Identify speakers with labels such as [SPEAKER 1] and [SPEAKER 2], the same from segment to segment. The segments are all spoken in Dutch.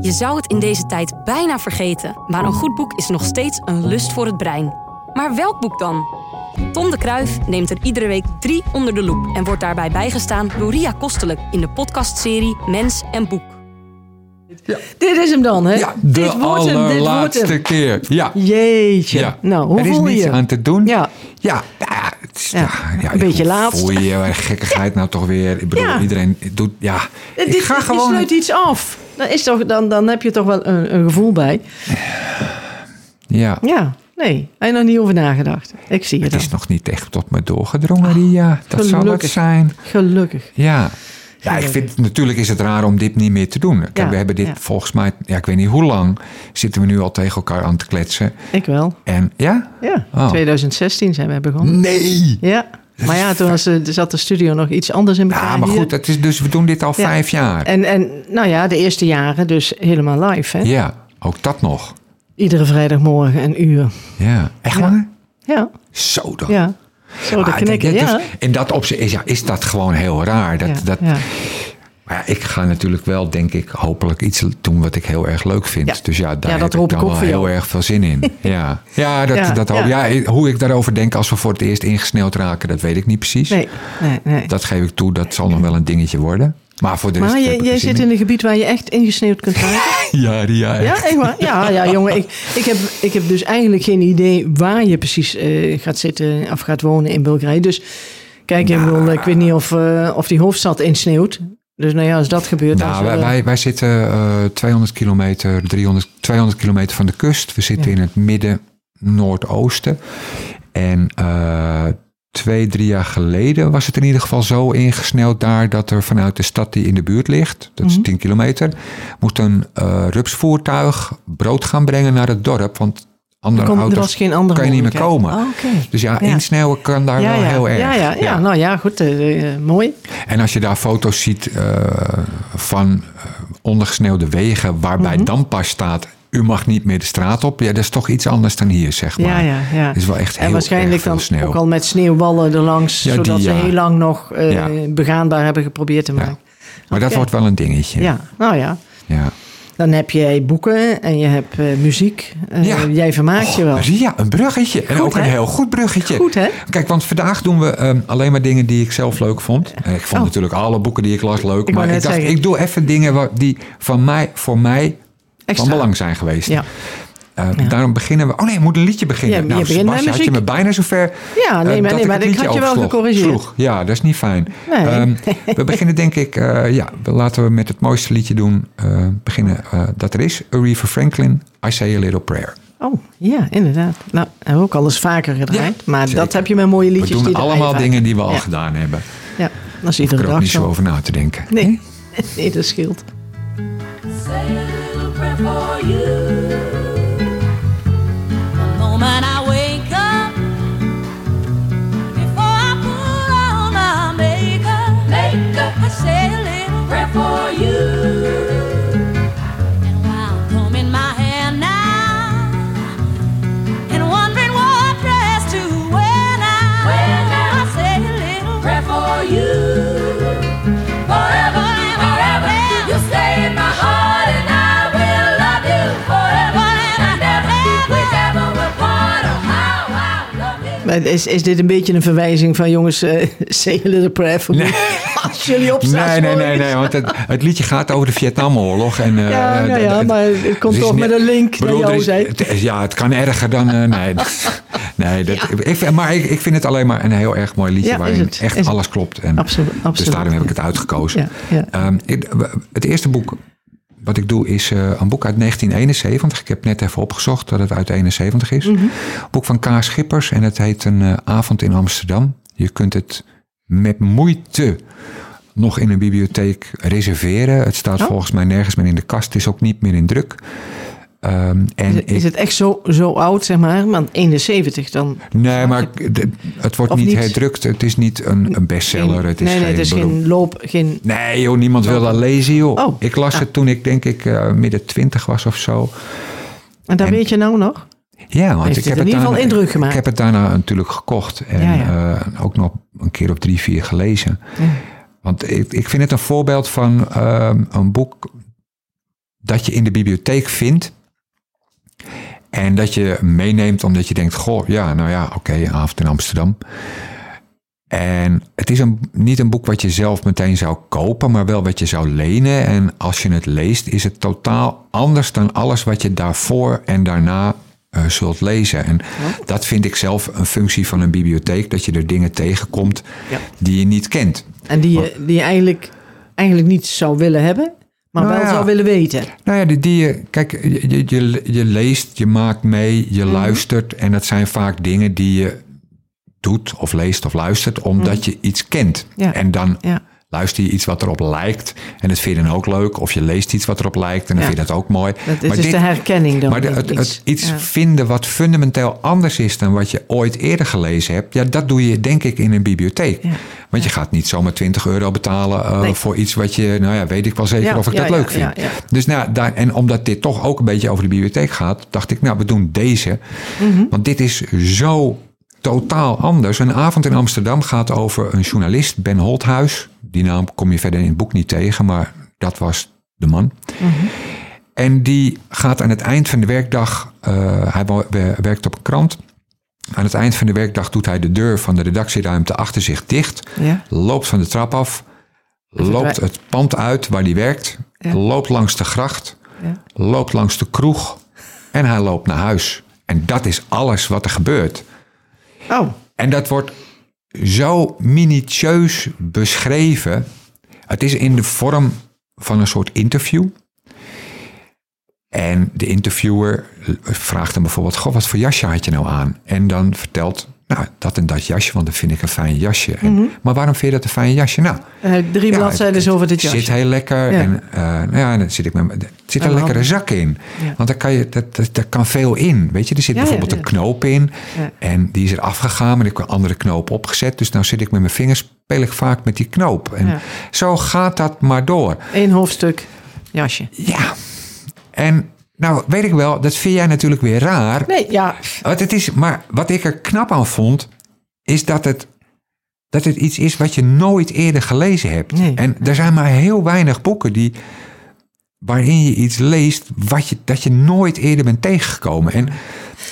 [SPEAKER 1] Je zou het in deze tijd bijna vergeten, maar een goed boek is nog steeds een lust voor het brein. Maar welk boek dan? Tom de Kruif neemt er iedere week drie onder de loep en wordt daarbij bijgestaan door Ria Kostelijk in de podcastserie Mens en Boek.
[SPEAKER 2] Dit is hem dan, hè?
[SPEAKER 3] Ja,
[SPEAKER 2] dit
[SPEAKER 3] de
[SPEAKER 2] wordt hem, dit wordt
[SPEAKER 3] allerlaatste
[SPEAKER 2] hem.
[SPEAKER 3] keer. Ja.
[SPEAKER 2] Jeetje.
[SPEAKER 3] Ja.
[SPEAKER 2] Nou, hoe
[SPEAKER 3] er is
[SPEAKER 2] voel je
[SPEAKER 3] niets
[SPEAKER 2] je?
[SPEAKER 3] aan te doen.
[SPEAKER 2] Ja.
[SPEAKER 3] Ja, nou ja, het is-
[SPEAKER 2] Ja,
[SPEAKER 3] ja, ja,
[SPEAKER 2] een beetje
[SPEAKER 3] hoe
[SPEAKER 2] laat.
[SPEAKER 3] Voel je je gekkigheid nou toch weer? Ik bedoel,
[SPEAKER 2] Ja.
[SPEAKER 3] iedereen doet... Ja,
[SPEAKER 2] Dit,
[SPEAKER 3] ik ga
[SPEAKER 2] dit
[SPEAKER 3] gewoon...
[SPEAKER 2] sluit iets af. Dan, is toch, dan, dan heb je toch wel een, een gevoel bij.
[SPEAKER 3] Ja,
[SPEAKER 2] Ja, nee. Hij heeft nog niet over nagedacht. Ik zie je
[SPEAKER 3] het
[SPEAKER 2] dan.
[SPEAKER 3] is nog niet echt tot me doorgedrongen, Ria. Dat zal het
[SPEAKER 2] gelukkig.
[SPEAKER 3] zijn.
[SPEAKER 2] Gelukkig.
[SPEAKER 3] Ja. Ja, ik vind, natuurlijk is het raar om dit niet meer te doen. Kijk,
[SPEAKER 2] Ja,
[SPEAKER 3] we hebben dit
[SPEAKER 2] ja.
[SPEAKER 3] volgens mij, ja, ik weet niet hoe lang, zitten we nu al tegen elkaar aan te kletsen.
[SPEAKER 2] Ik wel.
[SPEAKER 3] En ja?
[SPEAKER 2] Ja,
[SPEAKER 3] Oh.
[SPEAKER 2] 2016 zijn we begonnen.
[SPEAKER 3] Nee!
[SPEAKER 2] Ja. Maar ja, toen was, de- zat de studio nog iets anders in elkaar.
[SPEAKER 3] Ja, maar
[SPEAKER 2] hier.
[SPEAKER 3] goed, het is, dus we doen dit al
[SPEAKER 2] Ja.
[SPEAKER 3] vijf jaar.
[SPEAKER 2] En, en nou ja, de eerste jaren dus helemaal live. Hè?
[SPEAKER 3] Ja, ook dat nog.
[SPEAKER 2] Iedere vrijdagmorgen een uur.
[SPEAKER 3] Ja. Echt waar?
[SPEAKER 2] Ja,
[SPEAKER 3] Zo dan.
[SPEAKER 2] ja. oh, Zo, de
[SPEAKER 3] Ah,
[SPEAKER 2] knikken.
[SPEAKER 3] dit- dit
[SPEAKER 2] Ja.
[SPEAKER 3] is- in dat opzicht is, ja, is dat gewoon heel raar. Dat,
[SPEAKER 2] Ja,
[SPEAKER 3] dat,
[SPEAKER 2] ja.
[SPEAKER 3] Maar ja, ik ga natuurlijk wel, denk ik, hopelijk iets doen wat ik heel erg leuk vind.
[SPEAKER 2] Ja.
[SPEAKER 3] Dus ja, daar
[SPEAKER 2] Ja, dat
[SPEAKER 3] heb ik
[SPEAKER 2] hoop ik
[SPEAKER 3] dan
[SPEAKER 2] ook
[SPEAKER 3] wel
[SPEAKER 2] voor
[SPEAKER 3] heel
[SPEAKER 2] jou.
[SPEAKER 3] erg veel zin in. ja, ja, dat,
[SPEAKER 2] Ja,
[SPEAKER 3] dat hoop
[SPEAKER 2] ja.
[SPEAKER 3] ja. hoe ik daarover denk als we voor het eerst ingesneeuwd raken, dat weet ik niet precies.
[SPEAKER 2] Nee, nee, nee.
[SPEAKER 3] Dat geef ik toe, dat zal nog wel een dingetje worden. Maar voor de rest
[SPEAKER 2] Maar
[SPEAKER 3] heb
[SPEAKER 2] jij,
[SPEAKER 3] ik
[SPEAKER 2] jij
[SPEAKER 3] er zin
[SPEAKER 2] zit in een gebied waar je echt ingesneeuwd kunt raken.
[SPEAKER 3] eh, Ja, Ria, echt.
[SPEAKER 2] Ja, echt waar? Ja, ja jongen. Ik, ik, heb, ik heb dus eigenlijk geen idee waar je precies eh, gaat zitten of gaat wonen in Bulgarije. Dus kijk,
[SPEAKER 3] Nou.
[SPEAKER 2] ik, bedoel, ik weet niet of, eh, of die hoofdstad insneeuwt. Dus nou ja, als dat gebeurt... dan
[SPEAKER 3] Nou,
[SPEAKER 2] zullen-
[SPEAKER 3] wij, wij, wij zitten eh, 200 kilometer, 300, 200 kilometer van de kust. We zitten
[SPEAKER 2] Ja.
[SPEAKER 3] in het midden noordoosten. En eh, twee, drie jaar geleden was het in ieder geval zo ingesneld daar dat er vanuit de stad die in de buurt ligt, dat
[SPEAKER 2] Mhm.
[SPEAKER 3] is 10 kilometer, moest een eh, rupsvoertuig brood gaan brengen naar het dorp. Want andere
[SPEAKER 2] Kon- er
[SPEAKER 3] auto's
[SPEAKER 2] was geen andere
[SPEAKER 3] kan je niet meer
[SPEAKER 2] mogelijkheid.
[SPEAKER 3] komen.
[SPEAKER 2] Ah, oké.
[SPEAKER 3] Dus ja,
[SPEAKER 2] Ja.
[SPEAKER 3] insneeuwen kan daar
[SPEAKER 2] Ja,
[SPEAKER 3] wel
[SPEAKER 2] ja.
[SPEAKER 3] heel erg.
[SPEAKER 2] Ja, ja, ja. nou ja, goed. eh, eh, mooi.
[SPEAKER 3] En als je daar foto's ziet eh, van eh, ondergesneeuwde wegen, waarbij
[SPEAKER 2] Mhm.
[SPEAKER 3] dan pas staat: u mag niet meer de straat op. Ja, dat is toch iets anders dan hier, zeg maar.
[SPEAKER 2] Ja, ja, ja.
[SPEAKER 3] Het is wel echt heel
[SPEAKER 2] en waarschijnlijk
[SPEAKER 3] erg veel
[SPEAKER 2] dan
[SPEAKER 3] sneeuw.
[SPEAKER 2] ook al met sneeuwballen erlangs,
[SPEAKER 3] Ja, die,
[SPEAKER 2] zodat ze
[SPEAKER 3] ja.
[SPEAKER 2] heel lang nog eh,
[SPEAKER 3] Ja.
[SPEAKER 2] begaanbaar hebben geprobeerd te maken.
[SPEAKER 3] Maar dat
[SPEAKER 2] Oké.
[SPEAKER 3] wordt wel een dingetje.
[SPEAKER 2] Ja, nou ja.
[SPEAKER 3] ja.
[SPEAKER 2] Dan heb jij boeken en je hebt eh, muziek. Eh,
[SPEAKER 3] Ja.
[SPEAKER 2] Jij vermaakt je
[SPEAKER 3] Oh,
[SPEAKER 2] wel.
[SPEAKER 3] Ria, een bruggetje. en
[SPEAKER 2] Goed,
[SPEAKER 3] ook
[SPEAKER 2] hè?
[SPEAKER 3] een heel goed bruggetje.
[SPEAKER 2] Goed, hè?
[SPEAKER 3] Kijk, want vandaag doen we ehm, alleen maar dingen die ik zelf leuk vond. En ik vond
[SPEAKER 2] Oh.
[SPEAKER 3] natuurlijk alle boeken die ik las leuk.
[SPEAKER 2] Ik wou
[SPEAKER 3] maar ik
[SPEAKER 2] net
[SPEAKER 3] dacht,
[SPEAKER 2] zeggen.
[SPEAKER 3] ik doe even dingen wa- die van mij, voor mij
[SPEAKER 2] Extra.
[SPEAKER 3] van belang zijn geweest.
[SPEAKER 2] Ja.
[SPEAKER 3] Eh,
[SPEAKER 2] Ja.
[SPEAKER 3] Daarom beginnen we... Oh nee, ik moet een liedje beginnen.
[SPEAKER 2] Ja, je
[SPEAKER 3] nou,
[SPEAKER 2] begint met
[SPEAKER 3] Sebastian, had je
[SPEAKER 2] muziek.
[SPEAKER 3] me bijna zover...
[SPEAKER 2] Ja, nee,
[SPEAKER 3] eh,
[SPEAKER 2] maar-
[SPEAKER 3] dat
[SPEAKER 2] nee, maar
[SPEAKER 3] het
[SPEAKER 2] ik had
[SPEAKER 3] liedje
[SPEAKER 2] je wel
[SPEAKER 3] oversloeg-
[SPEAKER 2] gecorrigeerd.
[SPEAKER 3] sloeg. Ja, dat is niet fijn.
[SPEAKER 2] Nee.
[SPEAKER 3] Ehm, we beginnen denk ik... eh, ja, we- laten we met het mooiste liedje doen. eh, beginnen eh, dat er is. Aretha Franklin, I Say A Little Prayer.
[SPEAKER 2] Oh, ja, inderdaad. Nou, hebben we ook al eens vaker gedraaid.
[SPEAKER 3] Ja,
[SPEAKER 2] maar
[SPEAKER 3] zeker.
[SPEAKER 2] dat heb je met mooie
[SPEAKER 3] We
[SPEAKER 2] liedjes.
[SPEAKER 3] doen
[SPEAKER 2] die draai je
[SPEAKER 3] allemaal
[SPEAKER 2] vaak.
[SPEAKER 3] dingen die we al
[SPEAKER 2] Ja.
[SPEAKER 3] gedaan hebben.
[SPEAKER 2] Ja, dat is
[SPEAKER 3] Ik
[SPEAKER 2] iedere
[SPEAKER 3] er ook
[SPEAKER 2] dag
[SPEAKER 3] niet zo
[SPEAKER 2] zo.
[SPEAKER 3] over na te denken.
[SPEAKER 2] Nee. nee, dat scheelt.
[SPEAKER 4] Say a little prayer for you. The moment I wake up, before I put on my makeup, makeup, I say a little prayer for you. And while I'm combing my hair now, and wondering what dress to wear now, I say a little prayer for you forever, forever. You stay in my heart, and I will love you forever and ever. We never will part. Oh, how I love you.
[SPEAKER 2] Maar is, is dit een beetje een verwijzing van jongens, eh say a little prayer for me. Als jullie opstaan.
[SPEAKER 3] Nee, nee, nee,
[SPEAKER 2] morgens.
[SPEAKER 3] nee, want het, het liedje gaat over de Vietnamoorlog. En, eh, dus
[SPEAKER 2] Ja, nou ja,
[SPEAKER 3] het-
[SPEAKER 2] maar het komt
[SPEAKER 3] is
[SPEAKER 2] toch
[SPEAKER 3] niet-
[SPEAKER 2] met een link naar
[SPEAKER 3] bedoel, er
[SPEAKER 2] jou,
[SPEAKER 3] is-
[SPEAKER 2] zei.
[SPEAKER 3] het is- Ja, het kan erger dan... eh, nee, dat- nee dat, ik, vind- maar ik, ik vind het alleen maar een heel erg mooi liedje...
[SPEAKER 2] Ja, is
[SPEAKER 3] waarin
[SPEAKER 2] het,
[SPEAKER 3] echt
[SPEAKER 2] is het.
[SPEAKER 3] alles klopt. En
[SPEAKER 2] Absoluut, absoluut.
[SPEAKER 3] Dus daarom heb ik het uitgekozen.
[SPEAKER 2] Ja, ja.
[SPEAKER 3] Ehm, ik- het eerste boek wat ik doe is eh, een boek uit 1971. Ik heb net even opgezocht dat het uit 71 is.
[SPEAKER 2] Mhm.
[SPEAKER 3] Boek van K. Schippers en het heet Een eh, avond in Amsterdam. Je kunt het met moeite nog in een bibliotheek reserveren. Het
[SPEAKER 2] Oh.
[SPEAKER 3] staat volgens mij nergens meer in de kast. Het is ook niet meer in druk. Ehm, en
[SPEAKER 2] Is, is
[SPEAKER 3] ik-
[SPEAKER 2] het echt zo, zo oud, zeg maar? Want 71 dan.
[SPEAKER 3] nee, maar ik- d- het wordt
[SPEAKER 2] Of
[SPEAKER 3] niet,
[SPEAKER 2] niet?
[SPEAKER 3] herdrukt. Het is niet een, een bestseller. Het is
[SPEAKER 2] nee, nee,
[SPEAKER 3] geen
[SPEAKER 2] het is
[SPEAKER 3] beroep-
[SPEAKER 2] geen loop, geen...
[SPEAKER 3] Nee, joh, niemand wil dat lezen, joh.
[SPEAKER 2] Oh.
[SPEAKER 3] ik las
[SPEAKER 2] Ah.
[SPEAKER 3] het toen ik denk ik eh, midden twintig was of zo.
[SPEAKER 2] En dat weet je nou nog?
[SPEAKER 3] Ja, want
[SPEAKER 2] Heeft
[SPEAKER 3] ik
[SPEAKER 2] het
[SPEAKER 3] heb het
[SPEAKER 2] in ieder geval
[SPEAKER 3] daarna-
[SPEAKER 2] indruk gemaakt?
[SPEAKER 3] Ik heb het daarna natuurlijk gekocht en
[SPEAKER 2] Ja, ja.
[SPEAKER 3] eh, ook nog een keer op drie, vier gelezen. Want ik, ik vind het een voorbeeld van ehm, een boek dat je in de bibliotheek vindt. En dat je meeneemt omdat je denkt, goh, ja, nou ja, oké, een avond in Amsterdam. En het is een, niet een boek wat je zelf meteen zou kopen, maar wel wat je zou lenen. En als je het leest, is het totaal anders dan alles wat je daarvoor en daarna eh, zult lezen. En dat vind ik zelf een functie van een bibliotheek, dat je er dingen tegenkomt
[SPEAKER 2] Ja.
[SPEAKER 3] die je niet kent.
[SPEAKER 2] En die je, die je eigenlijk, eigenlijk niet zou willen hebben, maar
[SPEAKER 3] Nou
[SPEAKER 2] wel
[SPEAKER 3] ja.
[SPEAKER 2] zou willen weten.
[SPEAKER 3] Nou ja, die, die je- kijk, je, je- je, je leest, je maakt mee, je
[SPEAKER 2] Mhm.
[SPEAKER 3] luistert. En dat zijn vaak dingen die je doet of leest of luistert omdat je iets kent.
[SPEAKER 2] Mhm. Ja.
[SPEAKER 3] En dan
[SPEAKER 2] Ja.
[SPEAKER 3] luister je iets wat erop lijkt en dat vind je dan ook leuk. Of je leest iets wat erop lijkt en dan
[SPEAKER 2] Ja.
[SPEAKER 3] vind je dat ook mooi.
[SPEAKER 2] Dat is
[SPEAKER 3] maar
[SPEAKER 2] dus de herkenning dan.
[SPEAKER 3] maar de-
[SPEAKER 2] van
[SPEAKER 3] het,
[SPEAKER 2] iets.
[SPEAKER 3] het iets
[SPEAKER 2] Ja.
[SPEAKER 3] vinden wat fundamenteel anders is dan wat je ooit eerder gelezen hebt, ja, dat doe je denk ik in een bibliotheek.
[SPEAKER 2] Ja.
[SPEAKER 3] Want je gaat niet zomaar 20 euro betalen eh,
[SPEAKER 2] Nee.
[SPEAKER 3] voor iets wat je, nou ja, weet ik wel zeker
[SPEAKER 2] Ja,
[SPEAKER 3] of ik
[SPEAKER 2] ja,
[SPEAKER 3] dat
[SPEAKER 2] ja,
[SPEAKER 3] leuk
[SPEAKER 2] ja,
[SPEAKER 3] vind.
[SPEAKER 2] ja.
[SPEAKER 3] Dus nou, ja, daar, en omdat dit toch ook een beetje over de bibliotheek gaat, dacht ik, nou, we doen deze.
[SPEAKER 2] Mhm.
[SPEAKER 3] Want dit is zo totaal anders. Een avond in Amsterdam gaat over een journalist, Ben Holthuis. Die naam kom je verder in het boek niet tegen, maar dat was de man. En die gaat aan het eind van de werkdag, eh, hij wo- we- werkt op een krant. Aan het eind van de werkdag doet hij de deur van de redactieruimte achter zich dicht.
[SPEAKER 2] Ja.
[SPEAKER 3] Loopt van de trap af. Loopt
[SPEAKER 2] wij-
[SPEAKER 3] het pand uit waar hij werkt.
[SPEAKER 2] Ja.
[SPEAKER 3] Loopt langs de gracht.
[SPEAKER 2] Ja.
[SPEAKER 3] Loopt langs de kroeg. En hij loopt naar huis. En dat is alles wat er gebeurt.
[SPEAKER 2] Oh,
[SPEAKER 3] En dat wordt zo minutieus beschreven. Het is in de vorm van een soort interview. En de interviewer vraagt hem bijvoorbeeld: Goh, wat voor jasje had je nou aan? En dan vertelt. Nou, dat en dat jasje, want dat vind ik een fijn jasje. En, Maar waarom vind je dat een fijn jasje? Nou,
[SPEAKER 2] eh, drie
[SPEAKER 3] ja,
[SPEAKER 2] bladzijden
[SPEAKER 3] het-
[SPEAKER 2] over dit
[SPEAKER 3] het
[SPEAKER 2] jasje.
[SPEAKER 3] Zit heel lekker.
[SPEAKER 2] Ja.
[SPEAKER 3] En, eh, nou ja, en dan zit ik met, mijn- er zit
[SPEAKER 2] En
[SPEAKER 3] een
[SPEAKER 2] dan-
[SPEAKER 3] lekkere zak in.
[SPEAKER 2] Ja.
[SPEAKER 3] Want daar kan, je, dat, dat, daar kan veel in. Weet je, er zit
[SPEAKER 2] Ja, ja,
[SPEAKER 3] bijvoorbeeld
[SPEAKER 2] ja.
[SPEAKER 3] een knoop in.
[SPEAKER 2] Ja.
[SPEAKER 3] En die is er afgegaan, maar ik heb een andere knoop opgezet. Dus nou zit ik met mijn vingers, speel ik vaak met die knoop. En
[SPEAKER 2] Ja.
[SPEAKER 3] zo gaat dat maar door.
[SPEAKER 2] Eén hoofdstuk jasje.
[SPEAKER 3] Ja. En nou weet ik wel, dat vind jij natuurlijk weer raar.
[SPEAKER 2] Nee, ja.
[SPEAKER 3] Want het is, maar wat ik er knap aan vond, is dat het, dat het iets is wat je nooit eerder gelezen hebt.
[SPEAKER 2] Nee.
[SPEAKER 3] En er zijn maar heel weinig boeken die, waarin je iets leest wat je, dat je nooit eerder bent tegengekomen. En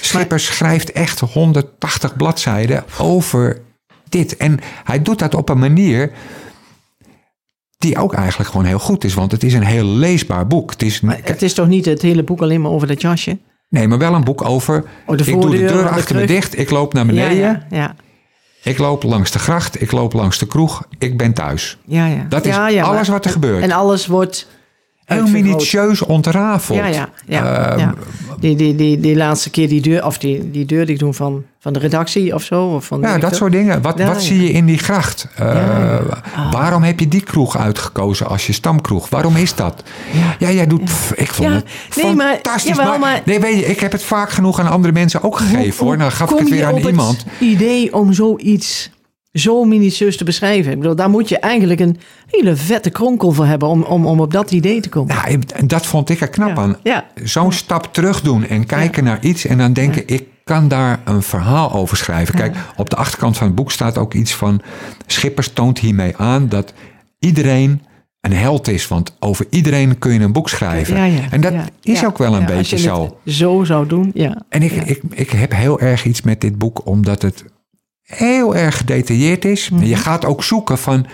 [SPEAKER 3] Schipper schrijft echt 180 bladzijden over dit. En hij doet dat op een manier die ook eigenlijk gewoon heel goed is. Want het is een heel leesbaar boek. Het is,
[SPEAKER 2] Het is toch niet het hele boek alleen maar over dat jasje?
[SPEAKER 3] Nee, maar wel een boek over.
[SPEAKER 2] Oh, de
[SPEAKER 3] ik doe de
[SPEAKER 2] voordeur,
[SPEAKER 3] deur
[SPEAKER 2] de
[SPEAKER 3] achter me
[SPEAKER 2] kruk.
[SPEAKER 3] dicht. Ik loop naar beneden.
[SPEAKER 2] Ja, ja, ja.
[SPEAKER 3] Ik loop langs de gracht. Ik loop langs de kroeg. Ik ben thuis.
[SPEAKER 2] ja, ja.
[SPEAKER 3] Dat is
[SPEAKER 2] Ja, ja,
[SPEAKER 3] alles
[SPEAKER 2] maar-
[SPEAKER 3] wat er gebeurt.
[SPEAKER 2] En alles wordt
[SPEAKER 3] Heel
[SPEAKER 2] uitvergroot.
[SPEAKER 3] minutieus ontrafeld.
[SPEAKER 2] Ja, ja, ja.
[SPEAKER 3] Ehm,
[SPEAKER 2] ja. Die, die, die, die laatste keer die deur, of die, die deur die ik doe van, van de redactie of zo. Of van
[SPEAKER 3] Ja,
[SPEAKER 2] weet ik
[SPEAKER 3] dat
[SPEAKER 2] veel.
[SPEAKER 3] soort dingen. Wat,
[SPEAKER 2] Ja,
[SPEAKER 3] wat
[SPEAKER 2] ja.
[SPEAKER 3] zie je in die gracht? Eh,
[SPEAKER 2] ja. Ah.
[SPEAKER 3] Waarom heb je die kroeg uitgekozen als je stamkroeg? Waarom is dat? Ja, jij doet... pff, ik vond
[SPEAKER 2] Ja,
[SPEAKER 3] het
[SPEAKER 2] nee, maar-
[SPEAKER 3] fantastisch.
[SPEAKER 2] jawel, maar-
[SPEAKER 3] nee, weet je, ik heb het vaak genoeg aan andere mensen ook gegeven. hoor. Nou gaf ik
[SPEAKER 2] Kom
[SPEAKER 3] het
[SPEAKER 2] je
[SPEAKER 3] weer aan
[SPEAKER 2] op het
[SPEAKER 3] iemand.
[SPEAKER 2] idee om zoiets zo minutieus te beschrijven? Ik bedoel, daar moet je eigenlijk een hele vette kronkel voor hebben om, om, om op dat idee te komen.
[SPEAKER 3] Nou, en dat vond ik er knap
[SPEAKER 2] Ja.
[SPEAKER 3] aan.
[SPEAKER 2] Ja.
[SPEAKER 3] Zo'n stap terug doen en kijken naar iets en dan denken, ik kan daar een verhaal over schrijven. Kijk, op de achterkant van het boek staat ook iets van, Schippers toont hiermee aan dat iedereen een held is, want over iedereen kun je een boek schrijven.
[SPEAKER 2] Ja, ja,
[SPEAKER 3] en dat
[SPEAKER 2] ja,
[SPEAKER 3] is
[SPEAKER 2] ja.
[SPEAKER 3] ook wel een
[SPEAKER 2] Ja,
[SPEAKER 3] beetje
[SPEAKER 2] als je
[SPEAKER 3] zo.
[SPEAKER 2] het zo zou doen, ja.
[SPEAKER 3] En ik, ik, ik heb heel erg iets met dit boek, omdat het heel erg gedetailleerd is.
[SPEAKER 2] Mhm.
[SPEAKER 3] En Je gaat ook zoeken van.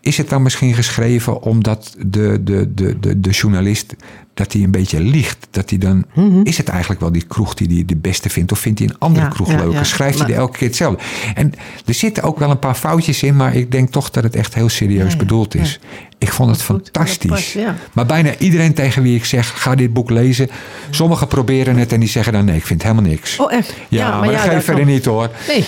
[SPEAKER 3] Is het dan misschien geschreven omdat de, de, de, de, de journalist dat hij een beetje liegt? Dat hij dan, Is het eigenlijk wel die kroeg die hij de beste vindt? Of vindt hij een andere
[SPEAKER 2] Mhm. Ja,
[SPEAKER 3] kroeg
[SPEAKER 2] ja,
[SPEAKER 3] leuker?
[SPEAKER 2] ja.
[SPEAKER 3] Schrijft hij
[SPEAKER 2] Maar-
[SPEAKER 3] er elke keer hetzelfde? En er zitten ook wel een paar foutjes in, maar ik denk toch dat het echt heel serieus
[SPEAKER 2] ja,
[SPEAKER 3] bedoeld is. Ik vond het fantastisch.
[SPEAKER 2] Dat past, ja.
[SPEAKER 3] Maar bijna iedereen tegen wie ik zeg, ga dit boek lezen. Sommigen proberen het en die zeggen dan nee, ik vind helemaal niks.
[SPEAKER 2] Oh, echt?
[SPEAKER 3] ja, maar dat geeft verder
[SPEAKER 2] kan-
[SPEAKER 3] niet hoor.
[SPEAKER 2] Nee,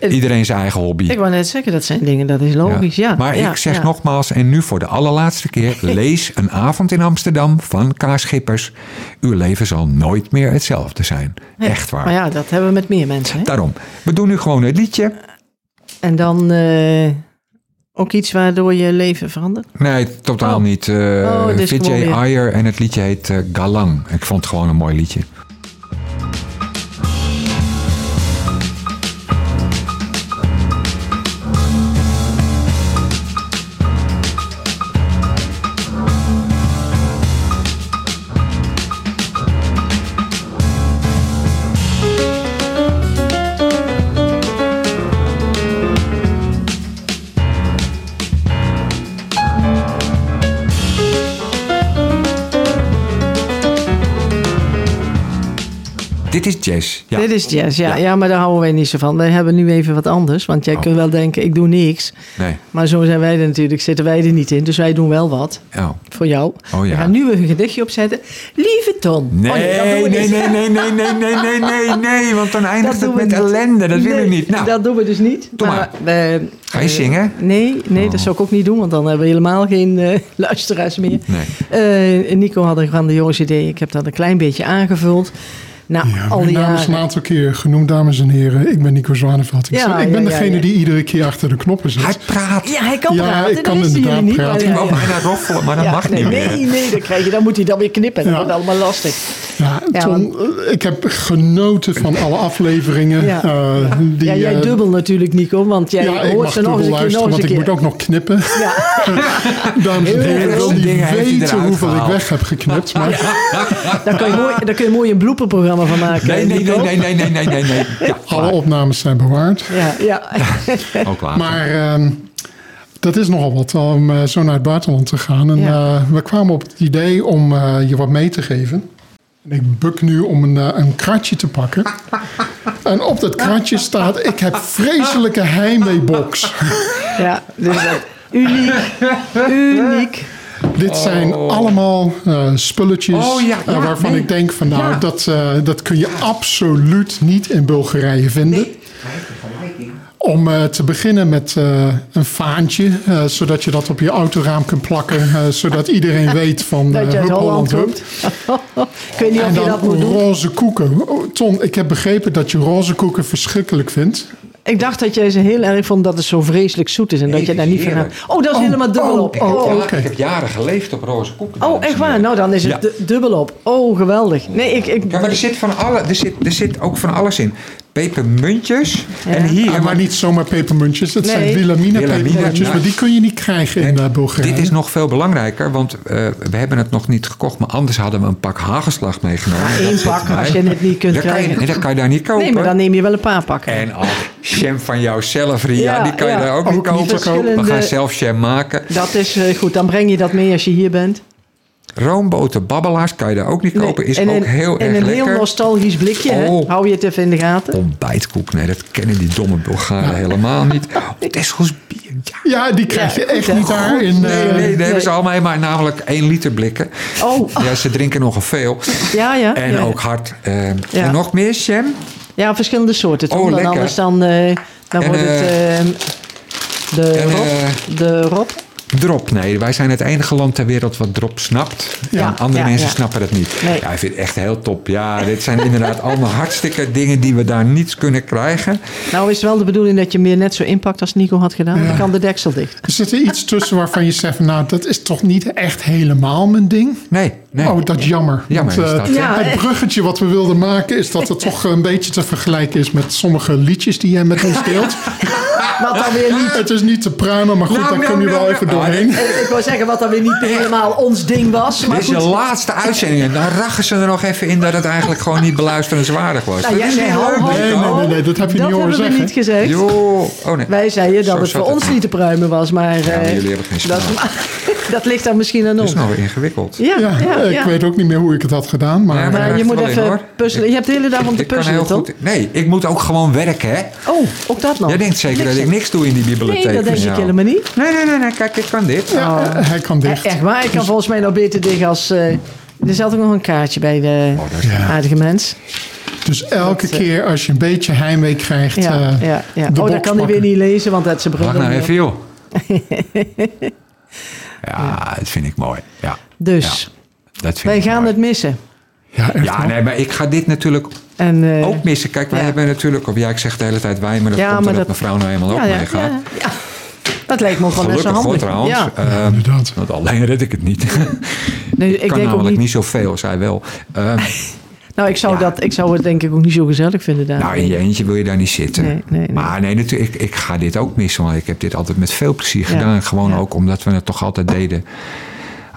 [SPEAKER 2] eh,
[SPEAKER 3] Iedereen zijn eigen hobby.
[SPEAKER 2] ik wou net zeggen, dat zijn dingen, dat is logisch, ja.
[SPEAKER 3] maar
[SPEAKER 2] ja,
[SPEAKER 3] ik zeg
[SPEAKER 2] ja.
[SPEAKER 3] nogmaals, en nu voor de allerlaatste keer, lees Een avond in Amsterdam van K. Schippers. Uw leven zal nooit meer hetzelfde zijn. Echt waar.
[SPEAKER 2] Maar ja, dat hebben we met meer mensen, hè?
[SPEAKER 3] Daarom, we doen nu gewoon het liedje.
[SPEAKER 2] En dan eh, ook iets waardoor je leven verandert?
[SPEAKER 3] Nee, totaal
[SPEAKER 2] Oh.
[SPEAKER 3] niet. eh
[SPEAKER 2] Oh, dit is
[SPEAKER 3] VJ
[SPEAKER 2] gewoon weer-
[SPEAKER 3] Ayer en het liedje heet eh, Galang. Ik vond het gewoon een mooi liedje. Dit is jazz. Ja.
[SPEAKER 2] Dit is jazz, ja.
[SPEAKER 3] Ja.
[SPEAKER 2] ja. maar daar houden wij niet zo van. Wij hebben nu even wat anders. Want jij
[SPEAKER 3] Oh.
[SPEAKER 2] kunt wel denken, ik doe niks.
[SPEAKER 3] Nee.
[SPEAKER 2] Maar zo zijn wij er natuurlijk, zitten wij er niet in. Dus wij doen wel wat
[SPEAKER 3] Oh.
[SPEAKER 2] voor jou.
[SPEAKER 3] Oh, ja.
[SPEAKER 2] We gaan nu een gedichtje opzetten. Lieve Ton.
[SPEAKER 3] Nee,
[SPEAKER 2] Oh, dat doen we
[SPEAKER 3] nee,
[SPEAKER 2] niet.
[SPEAKER 3] nee, nee, nee, nee, nee, nee, nee, nee, want dan eindigt
[SPEAKER 2] doen
[SPEAKER 3] het
[SPEAKER 2] we
[SPEAKER 3] met
[SPEAKER 2] niet.
[SPEAKER 3] ellende. Dat wil
[SPEAKER 2] Nee,
[SPEAKER 3] ik niet. Nou,
[SPEAKER 2] Dat doen we dus niet.
[SPEAKER 3] Doe
[SPEAKER 2] we-
[SPEAKER 3] Ga je
[SPEAKER 2] eh,
[SPEAKER 3] zingen?
[SPEAKER 2] Nee, nee
[SPEAKER 5] Oh.
[SPEAKER 2] dat zou ik ook niet doen, want dan hebben we helemaal geen eh, luisteraars meer.
[SPEAKER 3] nee.
[SPEAKER 2] Eh, Nico had een grandioos idee. Ik heb dat een klein beetje aangevuld. Nou,
[SPEAKER 5] Ja,
[SPEAKER 2] al
[SPEAKER 5] mijn
[SPEAKER 2] die
[SPEAKER 5] naam is
[SPEAKER 2] jaren.
[SPEAKER 5] een aantal keer genoemd, dames en heren. Ik ben Nico Zwaneveld. Ik,
[SPEAKER 2] Ja,
[SPEAKER 5] zeg, ik ben
[SPEAKER 2] ja, ja,
[SPEAKER 5] degene
[SPEAKER 2] ja.
[SPEAKER 5] die iedere keer achter de knoppen zit.
[SPEAKER 3] Hij praat.
[SPEAKER 2] Ja, hij kan
[SPEAKER 5] Ja,
[SPEAKER 2] praten.
[SPEAKER 5] ik
[SPEAKER 2] dat
[SPEAKER 5] kan
[SPEAKER 2] wisten
[SPEAKER 5] inderdaad
[SPEAKER 2] jullie niet.
[SPEAKER 5] praten.
[SPEAKER 2] maar
[SPEAKER 3] Ik
[SPEAKER 5] Ik
[SPEAKER 2] ja,
[SPEAKER 3] wou
[SPEAKER 2] ja.
[SPEAKER 3] bijna roffelen, maar dat
[SPEAKER 2] Ja,
[SPEAKER 3] mag
[SPEAKER 2] nee,
[SPEAKER 3] niet meer.
[SPEAKER 2] nee, nee, dat krijg je. Dan moet hij dan weer knippen. Dat
[SPEAKER 5] Ja.
[SPEAKER 2] wordt allemaal lastig.
[SPEAKER 5] Ja,
[SPEAKER 2] Ja,
[SPEAKER 5] Tom, eh, ik heb genoten van alle afleveringen.
[SPEAKER 2] Ja.
[SPEAKER 5] eh, die,
[SPEAKER 2] ja,
[SPEAKER 5] eh,
[SPEAKER 2] jij dubbel natuurlijk, Nico, want jij
[SPEAKER 5] Ja, ik
[SPEAKER 2] hoort
[SPEAKER 5] mag
[SPEAKER 2] ze nog
[SPEAKER 5] dubbel
[SPEAKER 2] eens een keer. Nog eens een
[SPEAKER 5] luisteren, want ik moet
[SPEAKER 2] keer.
[SPEAKER 5] ook nog knippen.
[SPEAKER 2] Ja.
[SPEAKER 5] Dames en heren, ik wil
[SPEAKER 3] veel
[SPEAKER 5] niet
[SPEAKER 3] dingen heeft hij
[SPEAKER 5] weten
[SPEAKER 3] eruit
[SPEAKER 5] hoeveel ik
[SPEAKER 3] gehaald.
[SPEAKER 5] weg heb geknipt. Maar
[SPEAKER 2] Daar kun je mooi, daar kun je mooi een blooperprogramma van maken.
[SPEAKER 3] Nee, nee, nee,
[SPEAKER 2] Nico.
[SPEAKER 3] nee, nee, nee, nee, nee, nee. Ja,
[SPEAKER 5] alle opnames zijn bewaard.
[SPEAKER 2] Ja, ja.
[SPEAKER 3] ook later.
[SPEAKER 5] Maar ehm, dat is nogal wat om eh, zo naar het buitenland te gaan. En
[SPEAKER 2] Ja.
[SPEAKER 5] eh, we kwamen op het idee om eh, je wat mee te geven. En ik buk nu om een, eh, een kratje te pakken. En op dat kratje staat: Ik heb vreselijke heimweebox.
[SPEAKER 2] ja dus dat, uniek. Uniek.
[SPEAKER 5] Dit zijn allemaal eh, spulletjes
[SPEAKER 3] Oh, ja,
[SPEAKER 5] eh,
[SPEAKER 3] ja,
[SPEAKER 5] waarvan
[SPEAKER 3] nee.
[SPEAKER 5] ik denk: van nou,
[SPEAKER 3] Ja.
[SPEAKER 5] dat, eh, dat kun je absoluut niet in Bulgarije vinden. Om eh, te beginnen met eh, een vaantje, eh, zodat je dat op je autoraam kunt plakken, eh, zodat iedereen weet van eh
[SPEAKER 2] Dat je uit
[SPEAKER 5] Hup
[SPEAKER 2] Holland
[SPEAKER 5] Holland Hup.
[SPEAKER 2] komt. Ik weet niet
[SPEAKER 5] En
[SPEAKER 2] of je dat
[SPEAKER 5] dan
[SPEAKER 2] moet
[SPEAKER 3] Mm-hmm.
[SPEAKER 2] doen.
[SPEAKER 5] roze koeken. Oh, Ton, ik heb begrepen dat je roze koeken verschrikkelijk vindt.
[SPEAKER 2] Ik dacht dat jij ze heel erg vond dat het zo vreselijk zoet is en dat je daar niet van
[SPEAKER 3] Heerlijk.
[SPEAKER 2] gaat. Oh, dat is helemaal dubbel
[SPEAKER 5] oh,
[SPEAKER 2] op.
[SPEAKER 3] Ik heb,
[SPEAKER 5] Oh,
[SPEAKER 3] jaren-
[SPEAKER 5] oké.
[SPEAKER 3] ik heb jaren geleefd op roze koeken.
[SPEAKER 2] Oh, echt waar? Nou, dan is het
[SPEAKER 3] Ja.
[SPEAKER 2] du- dubbel op. Oh, geweldig. Nee, ik... ik
[SPEAKER 3] Ja, maar er zit, van alle, er, zit, er zit ook van alles in. Pepermuntjes. En hier.
[SPEAKER 5] Ah, maar niet zomaar pepermuntjes, dat zijn
[SPEAKER 2] Nee.
[SPEAKER 5] Wilhelmina
[SPEAKER 3] Wilhelmina,
[SPEAKER 5] pepermuntjes,
[SPEAKER 3] ja.
[SPEAKER 5] maar die kun je niet krijgen in
[SPEAKER 3] En
[SPEAKER 5] eh, Bulgarije.
[SPEAKER 3] Dit is nog veel belangrijker, want eh, we hebben het nog niet gekocht. Maar anders hadden we een pak hagelslag meegenomen.
[SPEAKER 2] Ja,
[SPEAKER 3] En
[SPEAKER 2] één
[SPEAKER 3] dat zit
[SPEAKER 2] pak,
[SPEAKER 3] mij.
[SPEAKER 2] als je het niet kunt
[SPEAKER 3] Dat kan je-
[SPEAKER 2] krijgen.
[SPEAKER 3] nee, dat kan je daar niet kopen.
[SPEAKER 2] nee, maar dan neem je wel een paar pakken.
[SPEAKER 3] En al jam van jou zelf, Ria,
[SPEAKER 2] Ja,
[SPEAKER 3] die kan
[SPEAKER 2] ja.
[SPEAKER 3] je daar ook, niet
[SPEAKER 5] Ook niet
[SPEAKER 3] kopen.
[SPEAKER 5] te kopen.
[SPEAKER 3] We gaan
[SPEAKER 2] Verschillende-
[SPEAKER 3] zelf jam maken.
[SPEAKER 2] Dat is eh, goed. Dan breng je dat mee als je hier bent.
[SPEAKER 3] Roomboten, babbelaars kan je daar ook niet
[SPEAKER 2] Nee,
[SPEAKER 3] kopen. Is
[SPEAKER 2] en
[SPEAKER 3] ook
[SPEAKER 2] een,
[SPEAKER 3] heel
[SPEAKER 2] en
[SPEAKER 3] erg
[SPEAKER 2] een
[SPEAKER 3] lekker.
[SPEAKER 2] heel nostalgisch blikje. Hè?
[SPEAKER 3] Oh.
[SPEAKER 2] Hou je het even in de gaten.
[SPEAKER 3] Ontbijtkoek, nee, dat kennen die domme Bulgaren helemaal niet. Oh, Tesco's bier, ja.
[SPEAKER 5] Ja, die krijg
[SPEAKER 2] Ja,
[SPEAKER 5] je
[SPEAKER 2] goed,
[SPEAKER 5] echt
[SPEAKER 2] hè.
[SPEAKER 5] niet daar
[SPEAKER 3] Nee,
[SPEAKER 5] in...
[SPEAKER 3] nee,
[SPEAKER 5] eh,
[SPEAKER 3] nee, hebben
[SPEAKER 2] nee.
[SPEAKER 3] ze allemaal maar namelijk 1 liter blikken.
[SPEAKER 2] Oh,
[SPEAKER 3] Ja, ze drinken nogal veel.
[SPEAKER 2] ja, ja.
[SPEAKER 3] En
[SPEAKER 2] ja.
[SPEAKER 3] ook hard. eh,
[SPEAKER 2] Ja.
[SPEAKER 3] En nog meer, Sam?
[SPEAKER 2] Ja, verschillende soorten. toch?
[SPEAKER 3] Oh,
[SPEAKER 2] Want
[SPEAKER 3] lekker.
[SPEAKER 2] Anders dan, eh, dan
[SPEAKER 3] En,
[SPEAKER 2] wordt het
[SPEAKER 3] eh,
[SPEAKER 2] ehm, de,
[SPEAKER 3] en,
[SPEAKER 2] rob,
[SPEAKER 3] eh,
[SPEAKER 2] de rob.
[SPEAKER 3] Drop, nee. Wij zijn het enige land ter wereld wat drop snapt.
[SPEAKER 2] Ja,
[SPEAKER 3] en andere
[SPEAKER 2] ja,
[SPEAKER 3] mensen
[SPEAKER 2] ja.
[SPEAKER 3] snappen dat niet.
[SPEAKER 2] Nee.
[SPEAKER 3] Ja, ik vind het echt heel top. Ja, dit zijn inderdaad allemaal hartstikke dingen die we daar niet kunnen krijgen.
[SPEAKER 2] Nou is het wel de bedoeling dat je meer net zo inpakt als Nico had gedaan. Dan kan de deksel dicht.
[SPEAKER 5] Er zit er iets tussen waarvan je zegt, van, nou, dat is toch niet echt helemaal mijn ding?
[SPEAKER 3] Nee, nee.
[SPEAKER 5] Oh, dat is jammer.
[SPEAKER 3] Jammer
[SPEAKER 5] Want,
[SPEAKER 3] is dat,
[SPEAKER 5] eh,
[SPEAKER 2] hè? Ja,
[SPEAKER 5] Het
[SPEAKER 2] eh.
[SPEAKER 5] bruggetje wat we wilden maken is dat het toch een beetje te vergelijken is met sommige liedjes die jij met ons deelt.
[SPEAKER 2] Wat dan weer niet.
[SPEAKER 5] Het is niet te pruimen, maar goed,
[SPEAKER 3] Nou,
[SPEAKER 5] daar
[SPEAKER 3] nou,
[SPEAKER 5] kom je
[SPEAKER 3] nou,
[SPEAKER 5] wel
[SPEAKER 3] nou.
[SPEAKER 5] even doorheen.
[SPEAKER 2] Ik wou zeggen wat dan weer niet helemaal ons ding was. Maar
[SPEAKER 3] Dit is je
[SPEAKER 2] goed. Nou,
[SPEAKER 3] laatste uitzending. En dan rachen ze er nog even in dat het eigenlijk gewoon niet beluisterenswaardig was.
[SPEAKER 2] Nou,
[SPEAKER 3] Dat
[SPEAKER 2] jij-
[SPEAKER 3] is
[SPEAKER 2] nee,
[SPEAKER 3] niet
[SPEAKER 2] hou-
[SPEAKER 3] leuk,
[SPEAKER 2] hou-
[SPEAKER 5] Nee,
[SPEAKER 3] Nico.
[SPEAKER 5] nee, nee, nee, dat heb je
[SPEAKER 2] dat
[SPEAKER 5] niet horen
[SPEAKER 2] hebben we
[SPEAKER 5] zeggen.
[SPEAKER 2] niet gezegd.
[SPEAKER 3] Joh. Oh, nee.
[SPEAKER 2] Wij zeiden dat
[SPEAKER 3] Zo
[SPEAKER 2] het
[SPEAKER 3] zat
[SPEAKER 2] voor ons niet te pruimen was. Maar
[SPEAKER 3] maar
[SPEAKER 2] eh,
[SPEAKER 3] jullie hebben geen
[SPEAKER 2] dat, dat ligt dan misschien aan
[SPEAKER 3] Dat
[SPEAKER 2] ons.
[SPEAKER 3] is nou weer ingewikkeld.
[SPEAKER 2] Ja,
[SPEAKER 5] Ja,
[SPEAKER 2] ja, ja,
[SPEAKER 5] ik weet ook niet meer hoe ik het had gedaan, maar... eh,
[SPEAKER 3] Ja,
[SPEAKER 2] Maar
[SPEAKER 3] krijg
[SPEAKER 2] je
[SPEAKER 3] het
[SPEAKER 2] moet
[SPEAKER 3] wel in,
[SPEAKER 2] even
[SPEAKER 3] hoor.
[SPEAKER 2] puzzelen. Je hebt de hele dag om te
[SPEAKER 3] Ik kan
[SPEAKER 2] puzzelen,
[SPEAKER 3] heel
[SPEAKER 2] toch?
[SPEAKER 3] goed- Nee, ik moet ook gewoon werken, hè?
[SPEAKER 2] Oh, ook dat nog.
[SPEAKER 3] Jij denkt zeker dat ik niks doe in die bibliotheek.
[SPEAKER 2] Nee, dat denk
[SPEAKER 3] van
[SPEAKER 2] ik
[SPEAKER 3] jou.
[SPEAKER 2] helemaal niet.
[SPEAKER 3] Nee, nee, nee, nee, kijk, ik kan dit.
[SPEAKER 5] Ja, eh, hij kan dicht.
[SPEAKER 2] Echt waar, ik kan volgens mij nog beter dicht als... eh, er zat ook nog een kaartje bij de
[SPEAKER 3] Oh, dat is-
[SPEAKER 5] Ja.
[SPEAKER 2] aardige mens.
[SPEAKER 5] Dus elke
[SPEAKER 2] Dat, eh,
[SPEAKER 5] keer als je een beetje heimwee krijgt,
[SPEAKER 2] Ja,
[SPEAKER 5] eh,
[SPEAKER 2] ja, ja.
[SPEAKER 5] de
[SPEAKER 2] Oh,
[SPEAKER 5] box
[SPEAKER 2] dat kan hij weer
[SPEAKER 5] pakken.
[SPEAKER 2] niet lezen, want dat ze bril
[SPEAKER 3] Wacht
[SPEAKER 2] nog
[SPEAKER 3] nou
[SPEAKER 2] niet op.
[SPEAKER 3] even, joh. ja, dat vind ik mooi. Ja,
[SPEAKER 2] Dus,
[SPEAKER 3] dat vind
[SPEAKER 2] wij
[SPEAKER 3] ik
[SPEAKER 2] gaan
[SPEAKER 3] mooi.
[SPEAKER 2] het missen.
[SPEAKER 5] Ja, echt
[SPEAKER 3] Ja,
[SPEAKER 5] wel.
[SPEAKER 3] nee, maar ik ga dit natuurlijk
[SPEAKER 2] En, eh,
[SPEAKER 3] ook missen. Kijk, wij
[SPEAKER 2] ja.
[SPEAKER 3] hebben natuurlijk... Of ja, ik zeg de hele tijd wij, maar dat
[SPEAKER 2] Ja,
[SPEAKER 3] komt
[SPEAKER 2] maar
[SPEAKER 3] omdat
[SPEAKER 2] dat-
[SPEAKER 3] mijn vrouw nou eenmaal
[SPEAKER 2] ja,
[SPEAKER 3] ook
[SPEAKER 2] ja,
[SPEAKER 3] meegaat.
[SPEAKER 2] ja, ja. Dat lijkt me ook wel best wel
[SPEAKER 3] Gelukkig hoor,
[SPEAKER 2] handig.
[SPEAKER 3] trouwens.
[SPEAKER 2] Ja.
[SPEAKER 3] Eh,
[SPEAKER 5] Ja, inderdaad.
[SPEAKER 3] want alleen red ik het niet.
[SPEAKER 2] Nee,
[SPEAKER 3] ik
[SPEAKER 2] ik
[SPEAKER 3] kan
[SPEAKER 2] denk ook
[SPEAKER 3] namelijk
[SPEAKER 2] niet,
[SPEAKER 3] niet zoveel, zij wel. Eh,
[SPEAKER 2] Nou, ik zou,
[SPEAKER 3] Ja.
[SPEAKER 2] dat, ik zou het denk ik ook niet zo gezellig vinden daar.
[SPEAKER 3] nou, in je eentje wil je daar niet zitten.
[SPEAKER 2] Ah, Nee, nee, nee.
[SPEAKER 3] Maar nee, natuurlijk, ik, ik ga dit ook missen. Want ik heb dit altijd met veel plezier
[SPEAKER 2] Ja,
[SPEAKER 3] gedaan. Gewoon
[SPEAKER 2] ja.
[SPEAKER 3] ook omdat we het toch altijd deden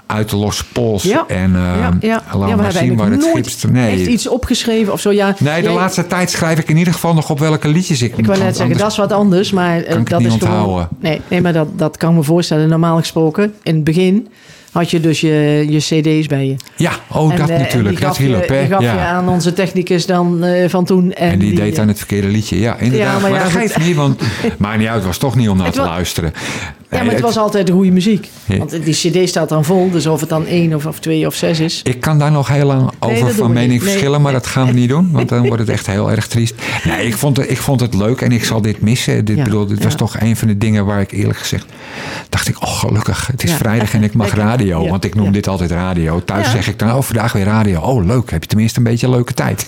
[SPEAKER 3] uit de losse pols.
[SPEAKER 2] Ja,
[SPEAKER 3] En eh
[SPEAKER 2] ja, ja.
[SPEAKER 3] laat
[SPEAKER 2] ja,
[SPEAKER 3] maar zien waar het schipst.
[SPEAKER 2] Nee.
[SPEAKER 3] Nee,
[SPEAKER 2] Echt iets opgeschreven of zo. Ja,
[SPEAKER 3] nee de
[SPEAKER 2] jij-
[SPEAKER 3] laatste tijd schrijf ik in ieder geval nog op welke liedjes ik
[SPEAKER 2] Ik wou net zeggen, dat is wat anders, maar eh,
[SPEAKER 3] ik het
[SPEAKER 2] dat
[SPEAKER 3] niet
[SPEAKER 2] is gewoon.
[SPEAKER 3] onthouden.
[SPEAKER 2] Nee, nee, maar dat, dat kan ik me voorstellen. Normaal gesproken, in het begin had je dus je, je cd's bij je.
[SPEAKER 3] Ja, oh,
[SPEAKER 2] En,
[SPEAKER 3] dat
[SPEAKER 2] eh, en
[SPEAKER 3] natuurlijk.
[SPEAKER 2] die
[SPEAKER 3] Dat
[SPEAKER 2] gaf
[SPEAKER 3] hielp,
[SPEAKER 2] je, die
[SPEAKER 3] hè?
[SPEAKER 2] gaf je
[SPEAKER 3] Ja.
[SPEAKER 2] aan onze technicus dan eh, van toen. En,
[SPEAKER 3] En die, deed
[SPEAKER 2] eh,
[SPEAKER 3] aan het verkeerde liedje. Ja, inderdaad.
[SPEAKER 2] maar
[SPEAKER 3] maar
[SPEAKER 2] ja,
[SPEAKER 3] dat
[SPEAKER 2] goed.
[SPEAKER 3] geeft niet, want maakt niet uit. Het was toch niet om naar
[SPEAKER 2] Het
[SPEAKER 3] te
[SPEAKER 2] wa-
[SPEAKER 3] luisteren.
[SPEAKER 2] Ja,
[SPEAKER 3] Nee,
[SPEAKER 2] maar het
[SPEAKER 3] het-
[SPEAKER 2] was altijd goede muziek.
[SPEAKER 3] Ja.
[SPEAKER 2] Want die cd staat dan vol, dus of het dan één of, of twee of zes is.
[SPEAKER 3] Ik kan daar nog heel lang over
[SPEAKER 2] dat doen
[SPEAKER 3] van
[SPEAKER 2] we
[SPEAKER 3] mening
[SPEAKER 2] niet. Nee,
[SPEAKER 3] verschillen, maar dat gaan we niet doen. Want dan wordt het echt heel erg triest. Nee, ik vond het, ik vond het leuk en ik zal dit missen. Dit,
[SPEAKER 2] Ja,
[SPEAKER 3] bedoel, dit was
[SPEAKER 2] ja.
[SPEAKER 3] toch een van de dingen waar ik eerlijk gezegd dacht ik, oh gelukkig, het is
[SPEAKER 2] Ja.
[SPEAKER 3] vrijdag en ik mag
[SPEAKER 2] Lekker.
[SPEAKER 3] radio.
[SPEAKER 2] Ja,
[SPEAKER 3] Want ik noem
[SPEAKER 2] ja.
[SPEAKER 3] dit altijd radio. Thuis
[SPEAKER 2] Ja.
[SPEAKER 3] zeg ik dan, oh vandaag weer radio. Oh leuk, heb je tenminste een beetje leuke tijd.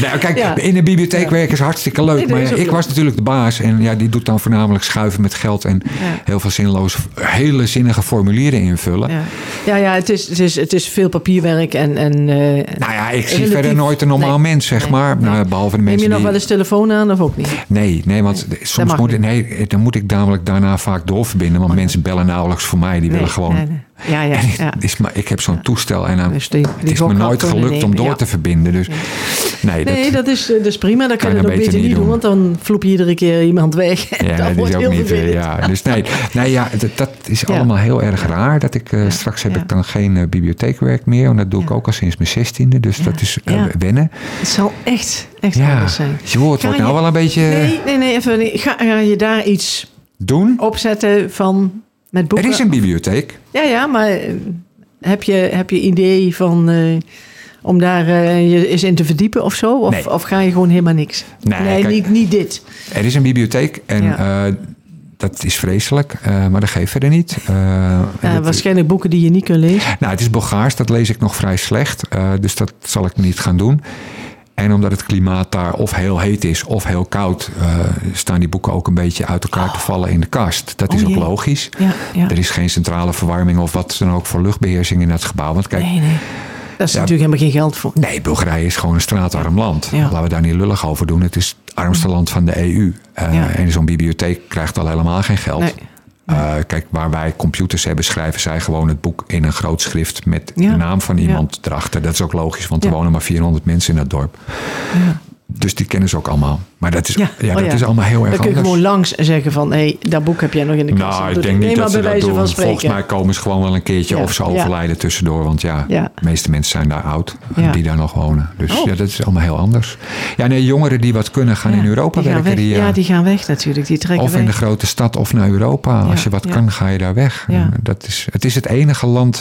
[SPEAKER 3] Nou, kijk,
[SPEAKER 2] Ja.
[SPEAKER 3] in de bibliotheek werken is hartstikke leuk.
[SPEAKER 2] Nee, dat
[SPEAKER 3] maar
[SPEAKER 2] is
[SPEAKER 3] ja,
[SPEAKER 2] ook
[SPEAKER 3] ik
[SPEAKER 2] leuk.
[SPEAKER 3] was natuurlijk de baas. En ja, die doet dan voornamelijk schuiven met geld. En heel veel zinloze, hele zinnige formulieren invullen.
[SPEAKER 2] Ja, ja, ja het, is, het, is, het is veel papierwerk en... en eh,
[SPEAKER 3] Nou ja, ik zie
[SPEAKER 2] Relatief.
[SPEAKER 3] verder nooit een normaal
[SPEAKER 2] Nee.
[SPEAKER 3] mens, zeg
[SPEAKER 2] Nee.
[SPEAKER 3] maar.
[SPEAKER 2] Nee.
[SPEAKER 3] Nou, behalve de
[SPEAKER 2] neem je
[SPEAKER 3] mensen
[SPEAKER 2] nog
[SPEAKER 3] die...
[SPEAKER 2] wel eens telefoon aan of ook niet?
[SPEAKER 3] Nee, nee, want soms
[SPEAKER 2] mag
[SPEAKER 3] moet,
[SPEAKER 2] niet. Oh,
[SPEAKER 3] nee, dan moet ik namelijk daarna vaak doorverbinden. Want mensen bellen nauwelijks voor mij. Die willen gewoon...
[SPEAKER 2] nee, nee. Ja, ja, ja.
[SPEAKER 3] Het Is maar, ik heb zo'n toestel en dan,
[SPEAKER 2] Dus die- die
[SPEAKER 3] het is me
[SPEAKER 2] gokkracht
[SPEAKER 3] nooit
[SPEAKER 2] kunnen
[SPEAKER 3] gelukt om
[SPEAKER 2] nemen,
[SPEAKER 3] door
[SPEAKER 2] ja.
[SPEAKER 3] te verbinden. Dus nee, dat,
[SPEAKER 2] Nee, dat is, eh, dat is prima. Dat kan,
[SPEAKER 3] Kan
[SPEAKER 2] je
[SPEAKER 3] je
[SPEAKER 2] dat
[SPEAKER 3] dan
[SPEAKER 2] ook beter niet doen, want
[SPEAKER 3] beter
[SPEAKER 2] dan floep je iedere keer iemand weg. En
[SPEAKER 3] Ja,
[SPEAKER 2] dat
[SPEAKER 3] dat
[SPEAKER 2] wordt
[SPEAKER 3] is ook
[SPEAKER 2] heel
[SPEAKER 3] niet. eh,
[SPEAKER 2] vervelend.
[SPEAKER 3] ja. Dus nee, nee ja, dat, dat is
[SPEAKER 2] Ja.
[SPEAKER 3] allemaal heel erg raar. Dat ik, eh, straks heb
[SPEAKER 2] ja.
[SPEAKER 3] ik dan geen eh, bibliotheekwerk meer. Want dat doe ik
[SPEAKER 2] Ja.
[SPEAKER 3] ook al sinds mijn zestiende. Dus dat is eh,
[SPEAKER 2] Ja.
[SPEAKER 3] wennen.
[SPEAKER 2] Het zal echt, echt
[SPEAKER 3] Ja,
[SPEAKER 2] anders zijn.
[SPEAKER 3] joh, het
[SPEAKER 2] Ga
[SPEAKER 3] wordt nou
[SPEAKER 2] je-
[SPEAKER 3] wel een beetje
[SPEAKER 2] Nee, nee, nee, even. niet. Ga, ga je daar iets
[SPEAKER 3] doen.
[SPEAKER 2] opzetten van met
[SPEAKER 3] Er
[SPEAKER 2] boeken?
[SPEAKER 3] is een bibliotheek.
[SPEAKER 2] Ja, ja, maar eh, heb je, heb je idee van eh, om daar eh, je eens in te verdiepen of zo? Of,
[SPEAKER 3] Nee.
[SPEAKER 2] of ga je gewoon helemaal niks?
[SPEAKER 3] Nee, kijk-
[SPEAKER 2] niet, niet dit.
[SPEAKER 3] Er is een bibliotheek en
[SPEAKER 2] Ja.
[SPEAKER 3] eh, dat is vreselijk. eh, maar dat geeft verder niet. Eh, en
[SPEAKER 2] Ja,
[SPEAKER 3] dat-
[SPEAKER 2] waarschijnlijk boeken die je niet kunt lezen.
[SPEAKER 3] Nou, het is Bulgaars, dat lees ik nog vrij slecht. eh, dus dat zal ik niet gaan doen. En omdat het klimaat daar of heel heet is of heel koud, eh, staan die boeken ook een beetje uit elkaar te vallen in de kast. Dat is
[SPEAKER 2] Oh,
[SPEAKER 3] ook
[SPEAKER 2] jee.
[SPEAKER 3] logisch.
[SPEAKER 2] Ja, ja.
[SPEAKER 3] Er is geen centrale verwarming of wat dan ook voor luchtbeheersing in dat gebouw. Want kijk,
[SPEAKER 2] Nee, nee. Daar is natuurlijk helemaal geen geld voor.
[SPEAKER 3] Nee, Bulgarije is gewoon een straatarm land.
[SPEAKER 2] Ja.
[SPEAKER 3] Laten we daar niet lullig over doen. Het is het armste land van de EU. Eh,
[SPEAKER 2] Ja.
[SPEAKER 3] En zo'n bibliotheek krijgt al helemaal geen geld.
[SPEAKER 2] Nee.
[SPEAKER 3] Eh, kijk, waar wij computers hebben, schrijven zij gewoon het boek in een groot schrift met
[SPEAKER 2] Ja.
[SPEAKER 3] de naam van iemand erachter. Dat is ook logisch, want er
[SPEAKER 2] Ja.
[SPEAKER 3] wonen maar 400 mensen in dat dorp. Dus die kennen ze ook allemaal. Maar dat is, ja.
[SPEAKER 2] Ja. Oh,
[SPEAKER 3] dat
[SPEAKER 2] ja.
[SPEAKER 3] is allemaal heel erg
[SPEAKER 2] Dan kun je
[SPEAKER 3] anders.
[SPEAKER 2] gewoon langs en zeggen van... hé, hey, dat boek heb jij nog in de kast.
[SPEAKER 3] Nou, ik
[SPEAKER 2] Doe
[SPEAKER 3] denk
[SPEAKER 2] Nee,
[SPEAKER 3] niet
[SPEAKER 2] maar
[SPEAKER 3] dat ze dat
[SPEAKER 2] bij wijze van
[SPEAKER 3] doen.
[SPEAKER 2] spreken.
[SPEAKER 3] Volgens mij komen ze gewoon wel een keertje
[SPEAKER 2] Ja,
[SPEAKER 3] of ze
[SPEAKER 2] ja.
[SPEAKER 3] overlijden tussendoor. Want ja,
[SPEAKER 2] Ja.
[SPEAKER 3] de meeste mensen zijn daar oud.
[SPEAKER 2] Ja.
[SPEAKER 3] Die daar nog wonen. Dus
[SPEAKER 2] Oh.
[SPEAKER 3] ja, dat is allemaal heel anders. Ja, nee, jongeren die wat kunnen gaan
[SPEAKER 2] Ja,
[SPEAKER 3] in Europa
[SPEAKER 2] die gaan
[SPEAKER 3] werken.
[SPEAKER 2] weg.
[SPEAKER 3] Die, eh,
[SPEAKER 2] ja, die gaan weg natuurlijk. Die trekken
[SPEAKER 3] of in de
[SPEAKER 2] weg.
[SPEAKER 3] grote stad of naar Europa.
[SPEAKER 2] Ja,
[SPEAKER 3] Als je wat
[SPEAKER 2] ja.
[SPEAKER 3] kan, ga je daar weg.
[SPEAKER 2] Ja.
[SPEAKER 3] En Dat is, het is het enige land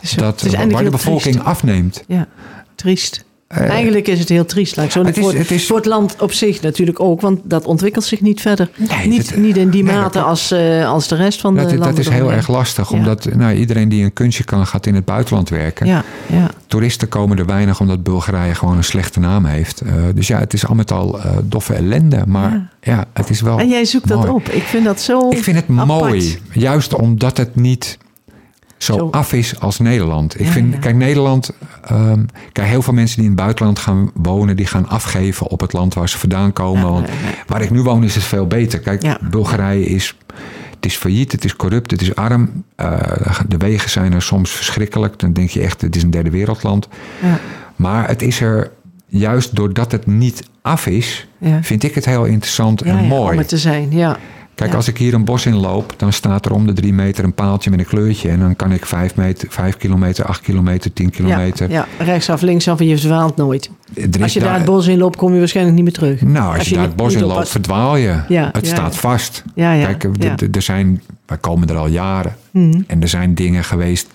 [SPEAKER 2] is- Dus het
[SPEAKER 3] dat,
[SPEAKER 2] is eigenlijk
[SPEAKER 3] waar de
[SPEAKER 2] heel
[SPEAKER 3] bevolking
[SPEAKER 2] triest.
[SPEAKER 3] afneemt.
[SPEAKER 2] Ja, triest. Eigenlijk is het heel triest, laat ik zo.
[SPEAKER 3] het is-
[SPEAKER 2] voor,
[SPEAKER 3] het is-
[SPEAKER 2] voor het land op zich natuurlijk ook, want dat ontwikkelt zich niet verder.
[SPEAKER 3] Nee,
[SPEAKER 2] niet,
[SPEAKER 3] dat-
[SPEAKER 2] niet in die
[SPEAKER 3] nee, dat
[SPEAKER 2] mate
[SPEAKER 3] klopt.
[SPEAKER 2] als, eh, als de rest van de
[SPEAKER 3] Dat,
[SPEAKER 2] landen.
[SPEAKER 3] dat is heel
[SPEAKER 2] eromheen.
[SPEAKER 3] erg lastig.
[SPEAKER 2] Ja.
[SPEAKER 3] Omdat nou, iedereen die een kunstje kan, gaat in het buitenland werken.
[SPEAKER 2] Ja, ja.
[SPEAKER 3] Toeristen komen er weinig omdat Bulgarije gewoon een slechte naam heeft. Eh, dus ja, het is al met al eh, doffe ellende. Maar ja. het is wel.
[SPEAKER 2] En jij zoekt
[SPEAKER 3] Oh, mooi.
[SPEAKER 2] dat op. Ik vind dat zo
[SPEAKER 3] Ik vind het
[SPEAKER 2] apart.
[SPEAKER 3] mooi. Juist omdat het niet zo,
[SPEAKER 2] Zo.
[SPEAKER 3] af is als Nederland. Ik
[SPEAKER 2] Ja,
[SPEAKER 3] vind,
[SPEAKER 2] ja.
[SPEAKER 3] kijk, Nederland. ehm, kijk, heel veel mensen die in het buitenland gaan wonen, die gaan afgeven op het land waar ze vandaan komen.
[SPEAKER 2] Ja,
[SPEAKER 3] want
[SPEAKER 2] ja, ja.
[SPEAKER 3] waar ik nu woon is het veel beter. Kijk,
[SPEAKER 2] Ja.
[SPEAKER 3] Bulgarije is. Het is failliet, het is corrupt, het is arm. Eh, de wegen zijn er soms verschrikkelijk. Dan denk je echt, het is een derde wereldland.
[SPEAKER 2] Ja,
[SPEAKER 3] Maar het is er juist doordat het niet af is,
[SPEAKER 2] ja.
[SPEAKER 3] vind ik het heel interessant
[SPEAKER 2] Ja,
[SPEAKER 3] en
[SPEAKER 2] ja,
[SPEAKER 3] mooi.
[SPEAKER 2] Om het te zijn, ja.
[SPEAKER 3] Kijk,
[SPEAKER 2] ja.
[SPEAKER 3] als ik hier een bos in loop, dan staat er om de drie meter een paaltje met een kleurtje. En dan kan ik vijf, meter, vijf kilometer, acht kilometer, tien kilometer.
[SPEAKER 2] Ja, ja, rechtsaf, linksaf en je verdwaalt nooit.
[SPEAKER 3] Er is
[SPEAKER 2] Als je daar het bos in loopt, kom je waarschijnlijk niet meer terug.
[SPEAKER 3] nou, als, je, daar
[SPEAKER 2] niet-
[SPEAKER 3] het bos
[SPEAKER 2] niet
[SPEAKER 3] in loopt,
[SPEAKER 2] oppast.
[SPEAKER 3] verdwaal je.
[SPEAKER 2] Ja,
[SPEAKER 3] het
[SPEAKER 2] ja,
[SPEAKER 3] staat
[SPEAKER 2] ja.
[SPEAKER 3] vast.
[SPEAKER 2] Ja, ja,
[SPEAKER 3] Kijk, d-
[SPEAKER 2] ja. Mhm.
[SPEAKER 3] d- er zijn, wij komen er al jaren. En er zijn dingen geweest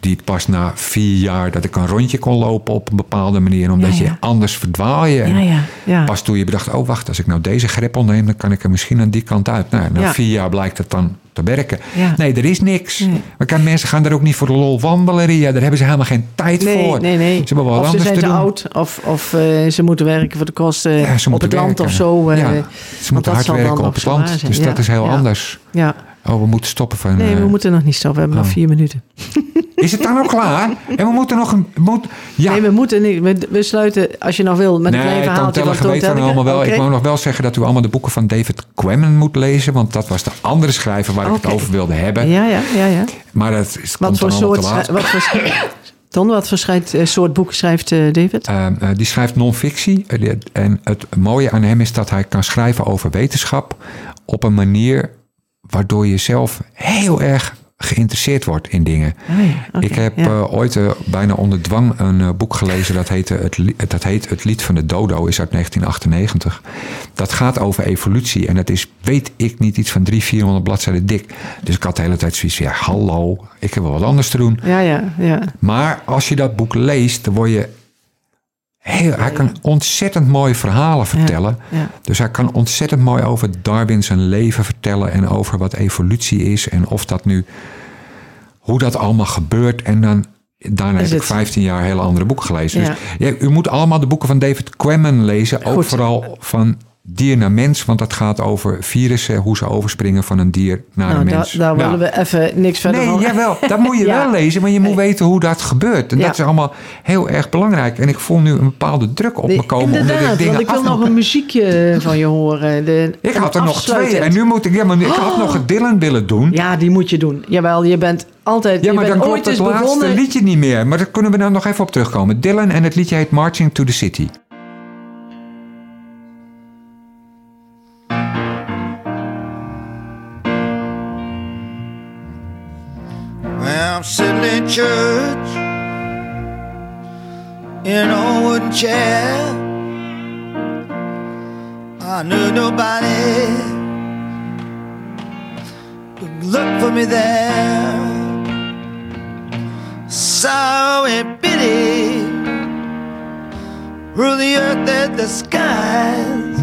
[SPEAKER 3] die pas na vier jaar dat ik een rondje kon lopen op een bepaalde manier. Omdat
[SPEAKER 2] Ja,
[SPEAKER 3] je
[SPEAKER 2] ja.
[SPEAKER 3] anders verdwaal je.
[SPEAKER 2] Ja, ja, ja.
[SPEAKER 3] Pas toen je bedacht, oh wacht, als ik nou deze greppel neem, dan kan ik er misschien aan die kant uit. Nou, na
[SPEAKER 2] Ja.
[SPEAKER 3] vier jaar blijkt het dan te werken.
[SPEAKER 2] Ja.
[SPEAKER 3] Nee, er is niks.
[SPEAKER 2] Nee.
[SPEAKER 3] Maar kijk, mensen gaan daar ook niet voor de lol wandelen, Ria. Daar hebben ze helemaal geen tijd
[SPEAKER 2] Nee,
[SPEAKER 3] voor.
[SPEAKER 2] nee, nee.
[SPEAKER 3] Ze hebben wel wat
[SPEAKER 2] of ze
[SPEAKER 3] anders
[SPEAKER 2] zijn te,
[SPEAKER 3] doen.
[SPEAKER 2] oud, of, of eh, ze moeten werken voor de kosten
[SPEAKER 3] Ja, ze
[SPEAKER 2] op
[SPEAKER 3] moeten
[SPEAKER 2] het land
[SPEAKER 3] werken.
[SPEAKER 2] of zo. eh,
[SPEAKER 3] Ja,
[SPEAKER 2] want
[SPEAKER 3] ze
[SPEAKER 2] dat
[SPEAKER 3] moeten hard
[SPEAKER 2] zal dan
[SPEAKER 3] werken
[SPEAKER 2] nog
[SPEAKER 3] op het
[SPEAKER 2] zo waar
[SPEAKER 3] land.
[SPEAKER 2] zijn.
[SPEAKER 3] Dus
[SPEAKER 2] Ja,
[SPEAKER 3] dat is heel
[SPEAKER 2] ja.
[SPEAKER 3] anders.
[SPEAKER 2] Ja.
[SPEAKER 3] Oh, we moeten stoppen van...
[SPEAKER 2] Nee,
[SPEAKER 3] eh,
[SPEAKER 2] we moeten nog niet stoppen. We hebben
[SPEAKER 3] Oh.
[SPEAKER 2] nog vier minuten.
[SPEAKER 3] Is het dan al klaar? En we moeten nog een... Moet, ja,
[SPEAKER 2] Nee, we moeten niet. We, we sluiten, als je nog wil, met een klein
[SPEAKER 3] Nee,
[SPEAKER 2] verhaaltje van
[SPEAKER 3] Tante
[SPEAKER 2] Toon
[SPEAKER 3] weet dan
[SPEAKER 2] Telleke.
[SPEAKER 3] allemaal wel.
[SPEAKER 2] Oké.
[SPEAKER 3] Ik wou nog wel zeggen dat u allemaal de boeken van David Quammen moet lezen. Want dat was de andere schrijver waar ik
[SPEAKER 2] Oké.
[SPEAKER 3] het over wilde hebben.
[SPEAKER 2] Ja, ja, ja. ja.
[SPEAKER 3] Maar dat is, komt
[SPEAKER 2] Wat voor
[SPEAKER 3] eh, dan allemaal
[SPEAKER 2] soort...
[SPEAKER 3] te laat.
[SPEAKER 2] schrij- Wat voor, schrij- Ton, wat voor schrijft, eh, soort boek schrijft eh, David?
[SPEAKER 3] Ehm, eh, die schrijft non-fictie. Eh, die- En het mooie aan hem is dat hij kan schrijven over wetenschap op een manier waardoor je zelf heel erg geïnteresseerd wordt in dingen.
[SPEAKER 2] Ah ja, oké,
[SPEAKER 3] ik heb
[SPEAKER 2] ja.
[SPEAKER 3] eh, ooit eh, bijna onder dwang een eh, boek gelezen dat, heette het, Li- dat heet Het Lied van de Dodo, is uit 1998. Dat gaat over evolutie en dat is, weet ik niet, iets van 300, 400 bladzijden dik. Dus ik had de hele tijd zoiets van, ja, hallo, ik heb wel wat anders te doen.
[SPEAKER 2] ja, ja, ja.
[SPEAKER 3] Maar als je dat boek leest, dan word je... Heel, hij kan ontzettend mooie verhalen vertellen.
[SPEAKER 2] ja.
[SPEAKER 3] Dus hij kan ontzettend mooi over Darwin zijn leven vertellen. En over wat evolutie is. En of dat nu. Hoe dat allemaal gebeurt. En dan. Daarna
[SPEAKER 2] Is
[SPEAKER 3] heb ik
[SPEAKER 2] het-
[SPEAKER 3] 15 jaar hele andere boeken gelezen.
[SPEAKER 2] Ja.
[SPEAKER 3] Dus ja, u moet allemaal de boeken van David Quammen lezen. Ook
[SPEAKER 2] Goed.
[SPEAKER 3] vooral van dier naar mens. Want dat gaat over virussen. Hoe ze overspringen van een dier naar
[SPEAKER 2] Nou,
[SPEAKER 3] een
[SPEAKER 2] da-
[SPEAKER 3] mens.
[SPEAKER 2] daar
[SPEAKER 3] Ja.
[SPEAKER 2] willen we even niks verder
[SPEAKER 3] Nee,
[SPEAKER 2] van.
[SPEAKER 3] jawel. Dat moet je
[SPEAKER 2] Ja.
[SPEAKER 3] wel lezen, maar je moet weten hoe dat gebeurt. En
[SPEAKER 2] Ja.
[SPEAKER 3] dat is allemaal heel erg belangrijk. En ik voel nu een bepaalde druk op me komen.
[SPEAKER 2] Inderdaad,
[SPEAKER 3] omdat ik dingen
[SPEAKER 2] want ik wil
[SPEAKER 3] af
[SPEAKER 2] nog een muziekje eh, van je horen. De,
[SPEAKER 3] Ik had er
[SPEAKER 2] een
[SPEAKER 3] nog twee.
[SPEAKER 2] afsluitend.
[SPEAKER 3] En nu moet ik... Ja, maar nu- ik had nog het Dylan willen doen. Ja,
[SPEAKER 2] Ja, die moet je doen. Jawel, je bent altijd... je
[SPEAKER 3] maar
[SPEAKER 2] bent
[SPEAKER 3] dan
[SPEAKER 2] ooit
[SPEAKER 3] klopt het
[SPEAKER 2] eens
[SPEAKER 3] laatste
[SPEAKER 2] begonnen.
[SPEAKER 3] liedje niet meer. Maar daar kunnen we nou nog even op terugkomen. Dylan en het liedje heet Marching to the City.
[SPEAKER 6] Well, I'm sitting in church in a wooden chair. I knew nobody would look for me there. Sorrow and pity rule the earth and the skies.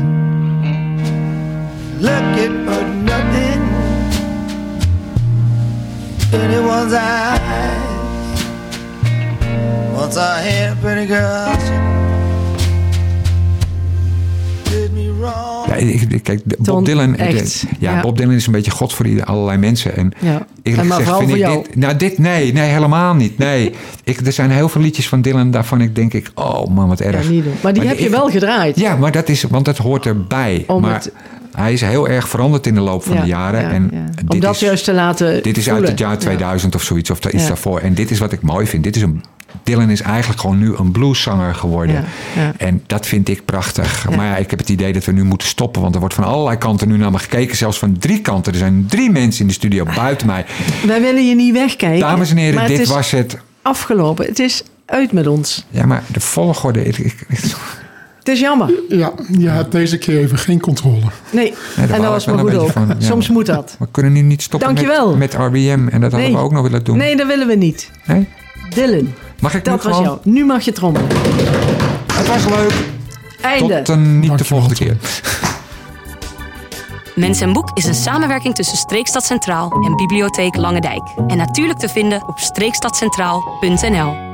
[SPEAKER 6] Looking for nothing anyone's eyes. Once I had a pretty girl, she did me wrong.
[SPEAKER 3] Ja, ik, ik- kijk, de- Bob
[SPEAKER 2] Ton,
[SPEAKER 3] Dylan... ik-
[SPEAKER 2] echt.
[SPEAKER 3] ja,
[SPEAKER 2] Ja.
[SPEAKER 3] Bob Dylan is een beetje god voor ieder- allerlei mensen. En
[SPEAKER 2] Ja.
[SPEAKER 3] eerlijk
[SPEAKER 2] En maar
[SPEAKER 3] gezegd
[SPEAKER 2] vooral
[SPEAKER 3] vind
[SPEAKER 2] voor
[SPEAKER 3] ik
[SPEAKER 2] jou.
[SPEAKER 3] dit... Nou, dit... Nee, nee, helemaal niet. Nee. ik, er zijn heel veel liedjes van Dylan daarvan ik denk ik... Oh man, wat erg.
[SPEAKER 2] Ja, niet doen. Maar die heb je
[SPEAKER 3] ik-
[SPEAKER 2] wel gedraaid.
[SPEAKER 3] Ja, maar dat is, want dat hoort erbij.
[SPEAKER 2] Om
[SPEAKER 3] maar
[SPEAKER 2] het-
[SPEAKER 3] hij is heel erg veranderd in de loop van
[SPEAKER 2] Ja,
[SPEAKER 3] de jaren.
[SPEAKER 2] ja,
[SPEAKER 3] en
[SPEAKER 2] ja.
[SPEAKER 3] dit
[SPEAKER 2] Om dat
[SPEAKER 3] is,
[SPEAKER 2] juist te laten
[SPEAKER 3] Dit is uit
[SPEAKER 2] voelen.
[SPEAKER 3] het jaar
[SPEAKER 2] Ja.
[SPEAKER 3] 2000 of zoiets, of daar iets
[SPEAKER 2] Ja.
[SPEAKER 3] daarvoor. En dit is wat ik mooi vind. Dit is een, Dylan is eigenlijk gewoon nu een blueszanger geworden.
[SPEAKER 2] Ja, ja.
[SPEAKER 3] En dat vind ik prachtig. Maar ja, ik heb het idee dat we nu moeten stoppen. Want er wordt van allerlei kanten nu naar me gekeken. Zelfs van drie kanten. Er zijn drie mensen in de studio buiten mij.
[SPEAKER 2] Wij willen je niet wegkijken.
[SPEAKER 3] Dames en heren,
[SPEAKER 2] Ah, maar
[SPEAKER 3] dit
[SPEAKER 2] het is
[SPEAKER 3] was het.
[SPEAKER 2] afgelopen. Het is uit met ons.
[SPEAKER 3] Ja, maar de volgorde. Ik, ik, ik-
[SPEAKER 2] Het is jammer.
[SPEAKER 5] Ja, je hebt deze keer even geen controle.
[SPEAKER 2] Nee,
[SPEAKER 3] daar
[SPEAKER 2] en
[SPEAKER 3] baal
[SPEAKER 2] dat
[SPEAKER 3] ik
[SPEAKER 2] was
[SPEAKER 3] wel
[SPEAKER 2] maar
[SPEAKER 3] een
[SPEAKER 2] goed ook.
[SPEAKER 3] beetje van, ja.
[SPEAKER 2] Soms moet dat.
[SPEAKER 3] we kunnen nu niet stoppen
[SPEAKER 2] Dankjewel.
[SPEAKER 3] met, met RBM. En dat hadden
[SPEAKER 2] Nee.
[SPEAKER 3] we ook nog willen doen.
[SPEAKER 2] Nee, dat willen we niet.
[SPEAKER 3] Nee?
[SPEAKER 2] Dylan,
[SPEAKER 3] Mag ik
[SPEAKER 2] dat
[SPEAKER 3] nu
[SPEAKER 2] was
[SPEAKER 3] gewoon?
[SPEAKER 2] jou. Nu mag je trommelen.
[SPEAKER 3] Het was leuk.
[SPEAKER 2] Einde.
[SPEAKER 3] Tot een niet de
[SPEAKER 5] Dankjewel,
[SPEAKER 3] volgende
[SPEAKER 5] Tom.
[SPEAKER 3] keer.
[SPEAKER 1] Mens en Boek is een samenwerking tussen Streekstad Centraal en Bibliotheek Langendijk. En natuurlijk te vinden op streekstadcentraal.nl.